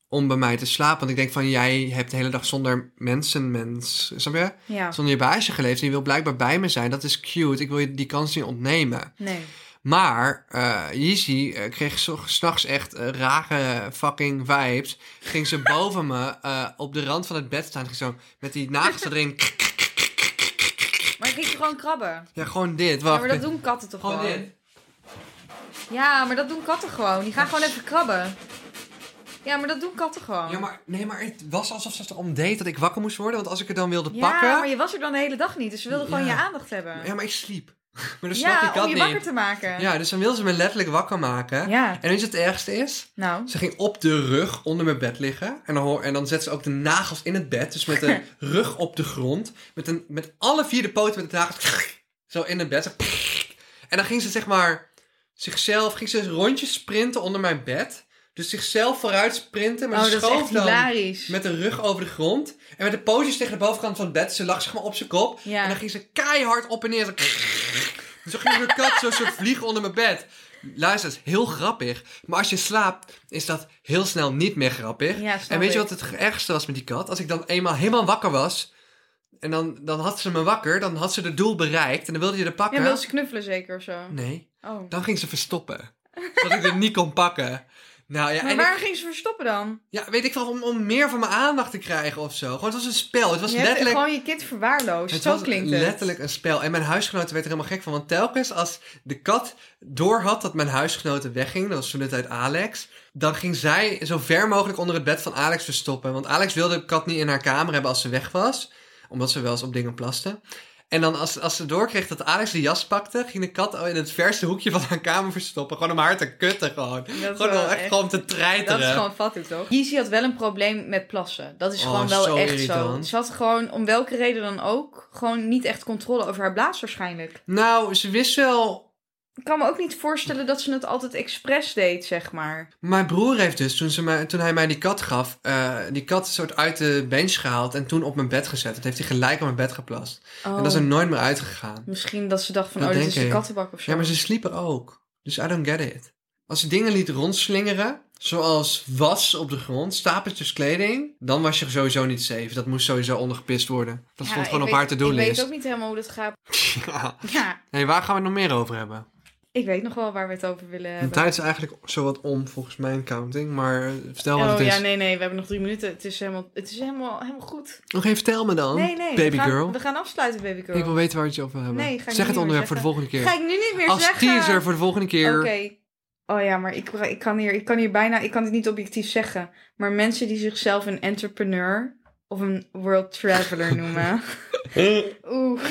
om bij mij te slapen. Want ik denk van, jij hebt de hele dag zonder mensen, mens. Snap je? ja. Zonder je baasje geleefd. En je wil blijkbaar bij me zijn. Dat is cute. Ik wil je die kans niet ontnemen. Nee. Maar eh Yeezy eh, kreeg zo- s'nachts echt eh, rare fucking vibes. Ging ze boven me eh, op de rand van het bed staan. Ging zo met die nagels erin. Maar ging je gewoon krabben? Ja, gewoon dit. Ja, Wacht. maar dat doen katten toch Gewoon gewoon? dit. Ja, maar dat doen katten gewoon. Die gaan gewoon even krabben. Ja, maar dat doen katten gewoon. Ja, maar, nee, maar het was alsof ze erom deed dat ik wakker moest worden. Want als ik het dan wilde Ja, pakken... maar je was er dan de hele dag niet, dus ze wilden gewoon Ja. je aandacht hebben. Ja, maar ik sliep. Maar dan Ja, snap ik dat om je wakker niet. te maken. Ja, dus dan wilde ze me letterlijk wakker maken. Ja. En weet je wat het ergste is? Nou, Ze ging op de rug onder mijn bed liggen. En dan, hoor, en dan zet ze ook de nagels in het bed. Dus met de rug op de grond. Met, een, met alle vier de poten met de nagels. Zo in het bed. Zo. En dan ging ze zeg maar zichzelf. Ging ze rondjes sprinten onder mijn bed. Dus zichzelf vooruit sprinten. Maar oh, ze dat is echt schoof dan hilarisch. met de rug over de grond. En met de pootjes tegen de bovenkant van het bed. Ze lag zeg maar op zijn kop. Ja. En dan ging ze keihard op en neer. Zo, dus zo ging de kat zo'n soort vlieg onder mijn bed. Luister, dat is heel grappig. Maar als je slaapt, is dat heel snel niet meer grappig. Ja, snap en weet je ik. wat het ergste was met die kat? Als ik dan eenmaal helemaal wakker was... en dan, dan had ze me wakker, dan had ze het doel bereikt... en dan wilde je er pakken. Ja, wil ze knuffelen zeker of zo? Nee, Oh. dan ging ze verstoppen. dat ik het niet kon pakken. Nou ja, Maar en waar ik, ging ze verstoppen dan? ja, weet ik wel, om, om meer van mijn aandacht te krijgen of zo. Gewoon, het was een spel. Het was Je hebt letterlijk... gewoon je kind verwaarloosd. Het zo was klinkt het. letterlijk een spel. En mijn huisgenoten werd er helemaal gek van. Want telkens als de kat doorhad dat mijn huisgenoten wegging, dat was toen de tijd Alex, Dan ging zij zo ver mogelijk onder het bed van Alex verstoppen. Want Alex wilde de kat niet in haar kamer hebben als ze weg was. Omdat ze wel eens op dingen plaste. En dan als, als ze doorkreeg dat Alex de jas pakte, ging de kat al in het verste hoekje van haar kamer verstoppen. Gewoon om haar te kutten gewoon. Gewoon om, wel echt echt- gewoon om te treiteren. Dat is gewoon fattig, toch? Yeezy had wel een probleem met plassen. Dat is Oh, gewoon wel zo echt zo. irritant. Ze had gewoon, om welke reden dan ook, gewoon niet echt controle over haar blaas waarschijnlijk. Nou, ze wist wel... Ik kan me ook niet voorstellen dat ze het altijd expres deed, zeg maar. Mijn broer heeft dus, toen, ze mij, toen hij mij die kat gaf, eh, die kat soort uit de bench gehaald en toen op mijn bed gezet. Dat heeft hij gelijk op mijn bed geplast. En dat is er nooit meer uitgegaan. Oh, Misschien dat ze dacht van, Dat oh, dit is denk de ik. kattenbak of zo. Ja, maar ze sliep er ook. Dus I don't get it. Als ze dingen liet rondslingeren, zoals was op de grond, stapeltjes kleding, dan was je sowieso niet safe. Dat moest sowieso ondergepist worden. Dat Ja, stond ik gewoon op weet- haar Ik weet to-do-list. ook niet helemaal hoe dat gaat. Ja. Ja, Hey, waar gaan we het nog meer over hebben? ik weet nog wel waar we het over willen De hebben. tijd is eigenlijk zowat om, volgens mijn counting. Maar eh, vertel wat Oh het is. ja, nee, nee, we hebben nog drie minuten. Het is helemaal, het is helemaal, helemaal goed. Nog even vertel me dan, nee, nee. Oh, baby we gaan, girl. We gaan afsluiten, baby girl. Ik wil weten waar we het over wil hebben. Nee, ga ik nu zeg niet het meer onderwerp voor de zeggen. volgende keer. Ga ik nu niet meer Als zeggen. teaser voor de volgende keer. Oké. Oh ja, maar ik, ik, kan hier, ik kan hier bijna, ik kan dit niet objectief zeggen. Maar mensen die zichzelf een entrepreneur of een world traveler noemen. Oeh,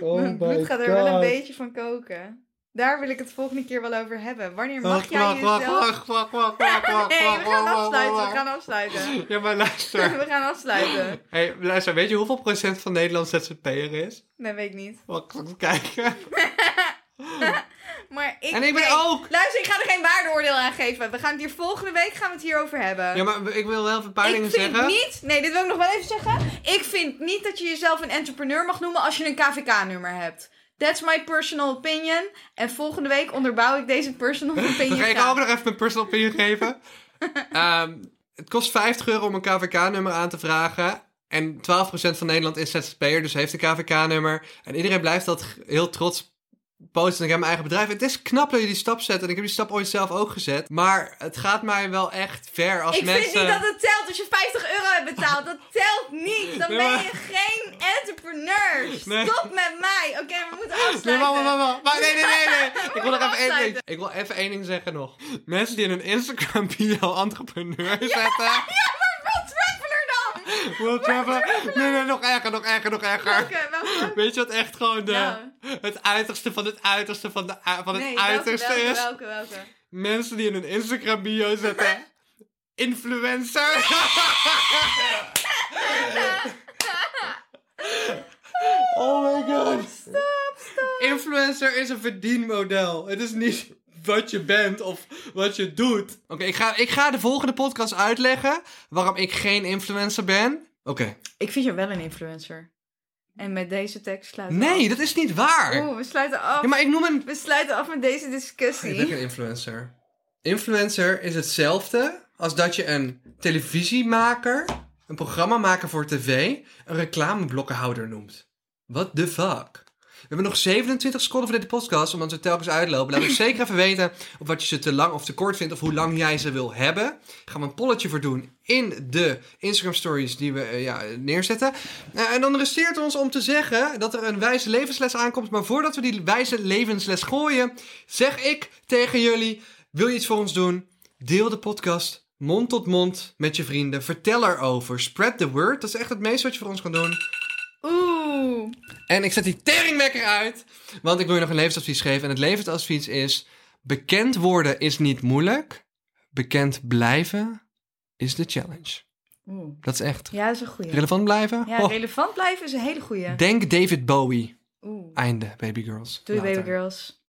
mijn bloed gaat er wel een beetje van koken. Daar wil ik het volgende keer wel over hebben. Wanneer mag jij wacht, wacht, jezelf... wacht, wacht, wacht, wacht, wacht, nee, we wacht, wacht, gaan wacht, afsluiten, we wacht. gaan afsluiten. Ja, maar luister. We gaan afsluiten. hey, luister, weet je hoeveel procent van Nederland ZZP'er is? Nee, weet ik niet. Wacht, ik ga kijken. Maar ik, En ik ben nee, ook- Luister, ik ga er geen waardeoordeel aan geven. We gaan het hier volgende week gaan we het hierover hebben. Ja, maar ik wil wel even een paar dingen ik vind zeggen. niet, nee, dit wil ik nog wel even zeggen. Ik vind niet dat je jezelf een entrepreneur mag noemen als je een KVK-nummer hebt. That's my personal opinion. En volgende week onderbouw ik deze personal opinion. Dan ga ik graag. ook nog even mijn personal opinion geven. Ehm, het kost 50 euro om een KVK-nummer aan te vragen. En 12% van Nederland is ZZP'er, dus heeft een KVK-nummer. En iedereen blijft dat g- heel trots posten. Ik heb mijn eigen bedrijf. Het is knap dat je die stap zet. En ik heb die stap ooit zelf ook gezet. Maar het gaat mij wel echt ver als Ik mensen... vind niet dat het telt als je 50 euro hebt betaald. Dat telt niet. Dan Nee, ben maar- je geen entrepreneur. Nee. Stop met mij. Oké, we moeten afsluiten. Nee, wacht, wacht, wacht, wacht. Nee, nee, nee, nee. Ik wil nog even één ding. Afsluiten. Ik wil even één ding zeggen nog. Mensen die in hun Instagram bio entrepreneur zetten. Ja, maar wat traveler dan? World traveler. Nee, nee, nog erger, nog erger, nog erger. Oké, wacht, wacht. Weet je wat echt gewoon de, Nou. het uiterste van het uiterste van, de, u- van het Nee, welke, uiterste welke, is? Welke, welke? Mensen die in hun Instagram bio zetten. Influencer. oh my god. Stop, stop. Influencer is een verdienmodel. Het is niet wat je bent of wat je doet. Oké, ik, ga, ik ga de volgende podcast uitleggen waarom ik geen influencer ben. Oké. Ik vind je wel een influencer. En met deze tekst sluiten we Nee, dat is niet waar. af. Oeh, we sluiten af. Ja, maar ik noem een We sluiten af met deze Ik discussie. ben geen influencer. Influencer is hetzelfde als dat je een televisiemaker, een programmamaker voor tv, een reclameblokkenhouder noemt. What the fuck? We hebben nog 27 seconden voor deze podcast, omdat we telkens uitlopen. Laat ons zeker even weten of wat je ze te lang of te kort vindt, of hoe lang jij ze wil hebben. Daar gaan we een polletje voor doen in de Instagram stories die we eh, ja, neerzetten. Eh, en dan resteert ons om te zeggen dat er een wijze levensles aankomt. Maar voordat we die wijze levensles gooien, zeg ik tegen jullie: wil je iets voor ons doen? Deel de podcast mond tot mond met je vrienden. Vertel erover. Spread the word. Dat is echt het meeste wat je voor ons kan doen. Oeh. En ik zet die teringwekker uit, want ik wil je nog een levensadvies geven. En het levensadvies is: bekend worden is niet moeilijk. Bekend blijven is de challenge. Oeh. Dat is echt. Ja, dat is een goeie. Relevant blijven? Ja, Oh, relevant blijven is een hele goeie. denk David Bowie. Oeh. Einde, baby girls. Doei, Later. baby girls.